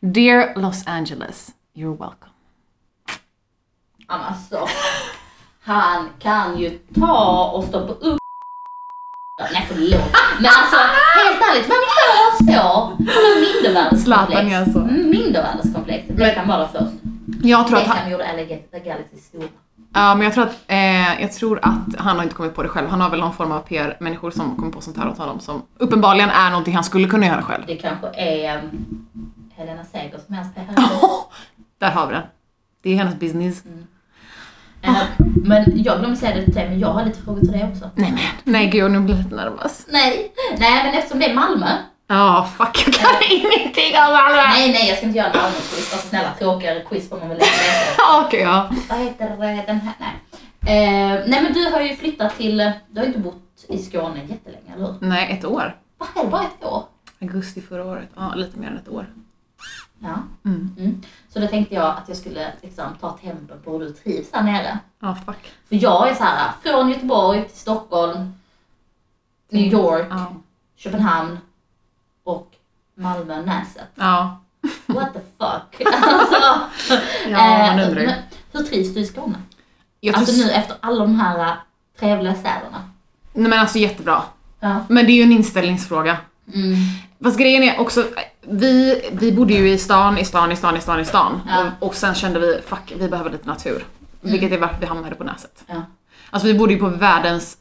S2: Dear Los Angeles, you're welcome.
S1: Han Alltså. Han kan ju ta och stoppa upp Nej förlåt. Men alltså helt ärligt, vem gör så? Han har mindervärdeskomplex.
S2: Zlatan gör så.
S1: Mm, Mindervärdeskomplex. Beckham var där först.
S2: Jag tror att han...
S1: Beckham gjorde LA Galaxy stora.
S2: Ja, men jag tror, att, eh, jag tror att han har inte kommit på det själv. Han har väl någon form av PR-människor som kommer på sånt här åt honom som uppenbarligen är någonting han skulle kunna göra själv.
S1: Det kanske är um, Helena Seger som är hans PR.
S2: Där har vi den. Det är hennes business.
S1: Mm. Eh, Men jag glömde säga det till dig, men jag har lite frågor till dig också.
S2: Nej men. Nej gud, nu blir jag lite nervös.
S1: Nej, nej men eftersom det är Malmö.
S2: Ja, fuck jag kan ingenting om Malmö.
S1: Nej, nej jag ska inte göra en Malmö-quiz. Alltså snälla, tråkigare quiz får man väl lägga ner på.
S2: Ja, Okej, ja.
S1: Vad heter eh, den här? Nej. Eh, nej men du har ju flyttat till, eh, du har ju inte bott i Skåne jättelänge, eller hur?
S2: Nej, ett år.
S1: Vad är det, bara ett år?
S2: Augusti förra året. Ja, lite mer än ett år.
S1: Ja.
S2: Mm.
S1: Mm. Så då tänkte jag att jag skulle liksom, ta tempen på hur du trivs här nere.
S2: Ja, fuck.
S1: För jag är så här från Göteborg till Stockholm, New
S2: Mm.
S1: York,
S2: Ja.
S1: Köpenhamn och Malmö, Näset.
S2: Ja.
S1: What the fuck? alltså,
S2: Ja, man
S1: eh,
S2: undrar ju.
S1: men hur trivs du i Skåne?
S2: Jag tror...
S1: Alltså nu efter alla de här eh, trevliga städerna.
S2: Nej men alltså jättebra.
S1: Ja.
S2: Men det är ju en inställningsfråga.
S1: Mm.
S2: Fast grejen är också, vi, vi bodde ju i stan, i stan, i stan, i stan, i stan.
S1: Ja. Mm.
S2: Och, och sen kände vi, fuck, vi behöver lite natur. Vilket är varför vi hamnade på Näset.
S1: Ja.
S2: Alltså vi bodde ju på världens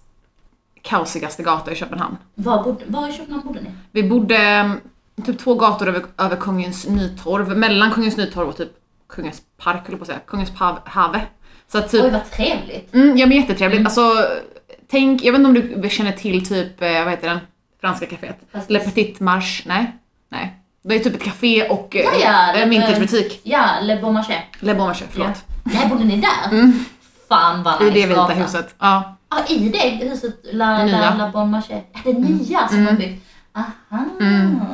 S2: kaosigaste gata i Köpenhamn.
S1: Var, bodde, var i Köpenhamn bodde ni?
S2: Vi bodde mm, typ två gator över, över Kungens Nytorv, mellan Kungens Nytorv och typ Kungens Park, höll jag på att säga. Kungens Pav, Have. Så att typ
S1: Oj vad trevligt.
S2: Mm, ja men jättetrevligt. Alltså, tänk, jag vet inte om du känner till typ, eh, vad heter den, franska kaféet?
S1: Fast-
S2: Le Petit Marche? Nej. Nej. Det är typ ett café och eh,
S1: Ja, ja,
S2: en
S1: det-
S2: vintagebutik.
S1: Ja, Le Bon Marché.
S2: Le Bon Marché, förlåt.
S1: Nej, bodde ni där? Fan vad
S2: I Mm. det vita
S1: gata.
S2: huset. Ja.
S1: Ja, i det huset, La,
S2: Nya. Mm.
S1: la, la Bon Marché. Ja, det nya som har byggt. Aha,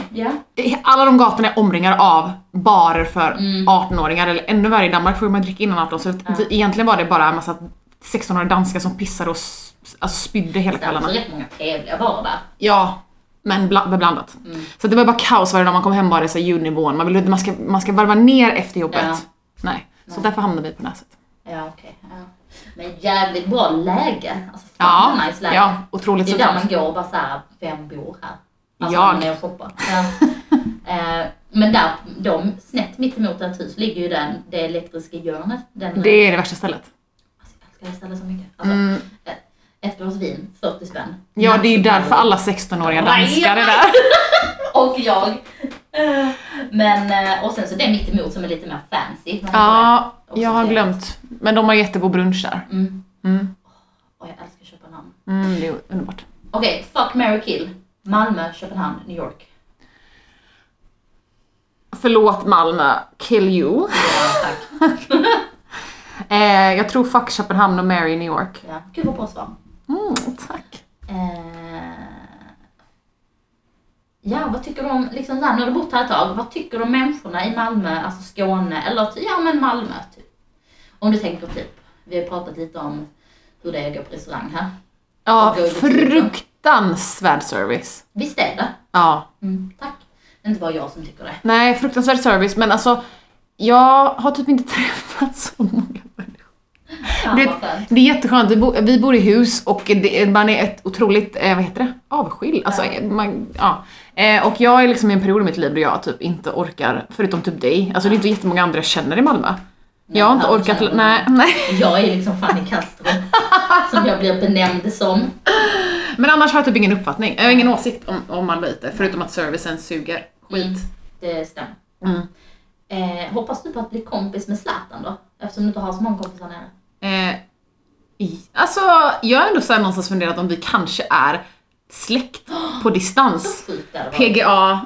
S1: ja.
S2: I- Alla de gatorna är omringar av barer för 18-åringar, eller ännu värre i Danmark får man dricka innan 18 så
S1: Mm. Ja.
S2: det- egentligen var det bara en massa 16-åriga danskar som pissade och s- alltså, spydde hela
S1: Det är
S2: kvällarna.
S1: alltså rätt många trevliga barer där.
S2: Ja, men bla- blandat.
S1: Mm.
S2: Så det var bara kaos varje dag man kom hem var det så här ljudnivån. Man, vill, man, ska, man ska varva ner efter jobbet.
S1: Ja.
S2: Nej. Så därför hamnade vi på Näset.
S1: Ja, okej. ja. Men jävligt bra läge. Alltså fan
S2: Ja,
S1: vad nice läge.
S2: ja otroligt
S1: Det är där
S2: centralt.
S1: man går och bara såhär, vem bor här? Alltså
S2: Jag.
S1: när man är och shoppar. Ja. Eh, Men där, de, snett mitt emot ert hus ligger ju den, det elektriska hörnet. Den,
S2: Det är det värsta stället.
S1: Alltså, jag älskar det stället så mycket. Alltså, eh, Ett glas vin, 40 spänn.
S2: Mm. Ja, det är ju
S1: Nattvardag.
S2: därför alla 16-åriga
S1: Nej,
S2: danskar är
S1: nej.
S2: där.
S1: Och jag. Eh, Men, eh, och sen så det mitt emot som är lite mer fancy. Vad heter
S2: Ja,
S1: det? Också
S2: jag har
S1: trevligt.
S2: glömt. Men de har jättegod brunch där.
S1: Mm.
S2: Mm.
S1: Och jag älskar Köpenhamn.
S2: Mm, det är underbart.
S1: Okej, fuck, marry, kill. Malmö, Köpenhamn, New York.
S2: Förlåt Malmö, kill you.
S1: Ja, tack.
S2: Eh, jag tror fuck Köpenhamn och Mary New York.
S1: Ja. Gud vad bra svar.
S2: Mm, tack.
S1: Eh, ja, vad tycker du om, liksom så här, nu har du bott här ett tag, vad tycker du om människorna i Malmö, alltså Skåne, eller ty- ja men Malmö typ? Om du tänker typ, vi har pratat lite om hur det är att gå på restaurang här.
S2: Ja,
S1: Och gulligt.
S2: fruktansvärd service.
S1: Visst är det?
S2: Ja,
S1: Mm, tack. Det är inte bara jag som tycker det.
S2: Nej, fruktansvärd service, men alltså jag har typ inte träffat så många människor.
S1: Fan
S2: Det-
S1: vad skönt.
S2: Det är jätteskönt, vi, bo, vi bor i hus och det, man är ett otroligt, eh, vad heter det, avskild. Alltså,
S1: Ja.
S2: man, ja. Eh, och jag är liksom i en period i mitt liv då jag typ inte orkar, förutom typ dig, alltså det är inte jättemånga andra jag känner i Malmö. jag har inte
S1: här
S2: orkat,
S1: känner man-
S2: nej, nej.
S1: Jag är liksom Fanny Castro, som jag blir benämnd som.
S2: Men annars har jag typ ingen uppfattning, jag har ingen åsikt om, om Malmö IT, förutom att servicen suger skit.
S1: Det stämmer.
S2: Mm.
S1: Eh, hoppas du på att bli kompis med Zlatan då? Eftersom du inte har så många kompisar nere. Mm.
S2: Eh, i- alltså, jag har ändå så här någonstans funderat om vi kanske är släkt på
S1: Så
S2: distans.
S1: sjukt det hade varit.
S2: PGA,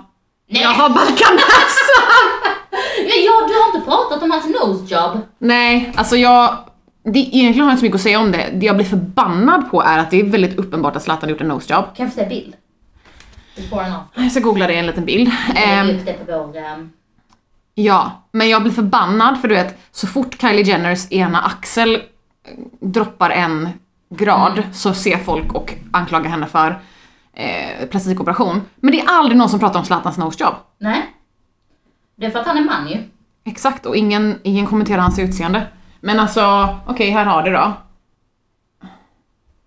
S1: Nej,
S2: jag har Balkanäsa!
S1: men jag, du har inte pratat om hans nosejob.
S2: Nej, alltså jag... Det, egentligen har jag inte så mycket att säga om det. Det jag blir förbannad på är att det är väldigt uppenbart att Zlatan gjort en nosejob.
S1: Kan jag få se bild? Before and after.
S2: Jag ska googla det i en liten bild.
S1: Jag
S2: Ehm,
S1: lägger upp det på vår... ehm,
S2: Ja, men jag blir förbannad för du vet, så fort Kylie Jenners ena axel eh, droppar en grad så ser folk och anklagar henne för eh, plastikoperation. Men det är aldrig någon som pratar om Zlatans nosejob.
S1: nej. Det är för att han är man ju.
S2: Exakt, och ingen, ingen kommenterar hans utseende. Men alltså, okej här har du då.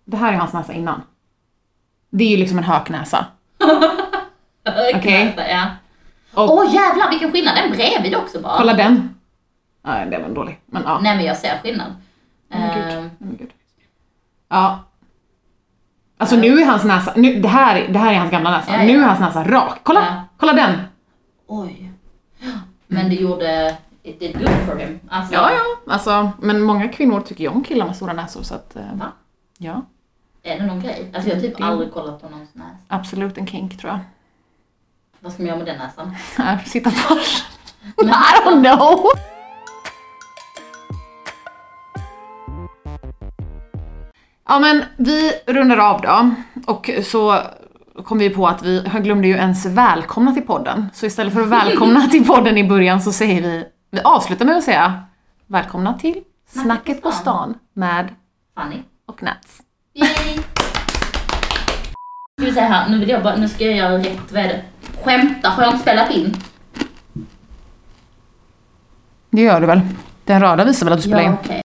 S2: Det här är hans näsa innan. Det är ju liksom en höknäsa. Okej.
S1: Ja.
S2: Och-
S1: Åh jävlar vilken skillnad, den bredvid också bara.
S2: Kolla den. Nej, det var dålig. Men ja.
S1: Nej men jag ser skillnad.
S2: Men gud,
S1: Ehm,
S2: men gud. Ja. Alltså nu är hans näsa, nu, det, här, det här är hans gamla näsa,
S1: Ja, ja.
S2: nu är hans näsa rak. Kolla!
S1: Ja.
S2: Kolla den!
S1: oj. Men det gjorde, it did good for him. Alltså,
S2: Ja, ja. Alltså, men många kvinnor tycker ju om killar med stora näsor så att... eh,
S1: Va?
S2: Ja,
S1: Är det någon grej? Alltså jag har typ
S2: Det-
S1: aldrig kollat på någons näsa.
S2: absolut en kink tror jag.
S1: Vad ska man göra med den näsan?
S2: Här, sitta på I don't know! Ja men vi rundar av då och så kom vi på att vi jag glömde ju ens välkomna till podden. Så istället för att välkomna till podden i början så säger vi, vi avslutar med att säga välkomna till Snacket på stan med
S1: Fanny.
S2: och Nats.
S1: Yay! Ska vi säga här, nu vill jag bara, nu ska jag göra rätt, vad är det? Skämta, har jag inte spelat in?
S2: Det gör du väl? Den röda visar väl att du spelar in?
S1: okej.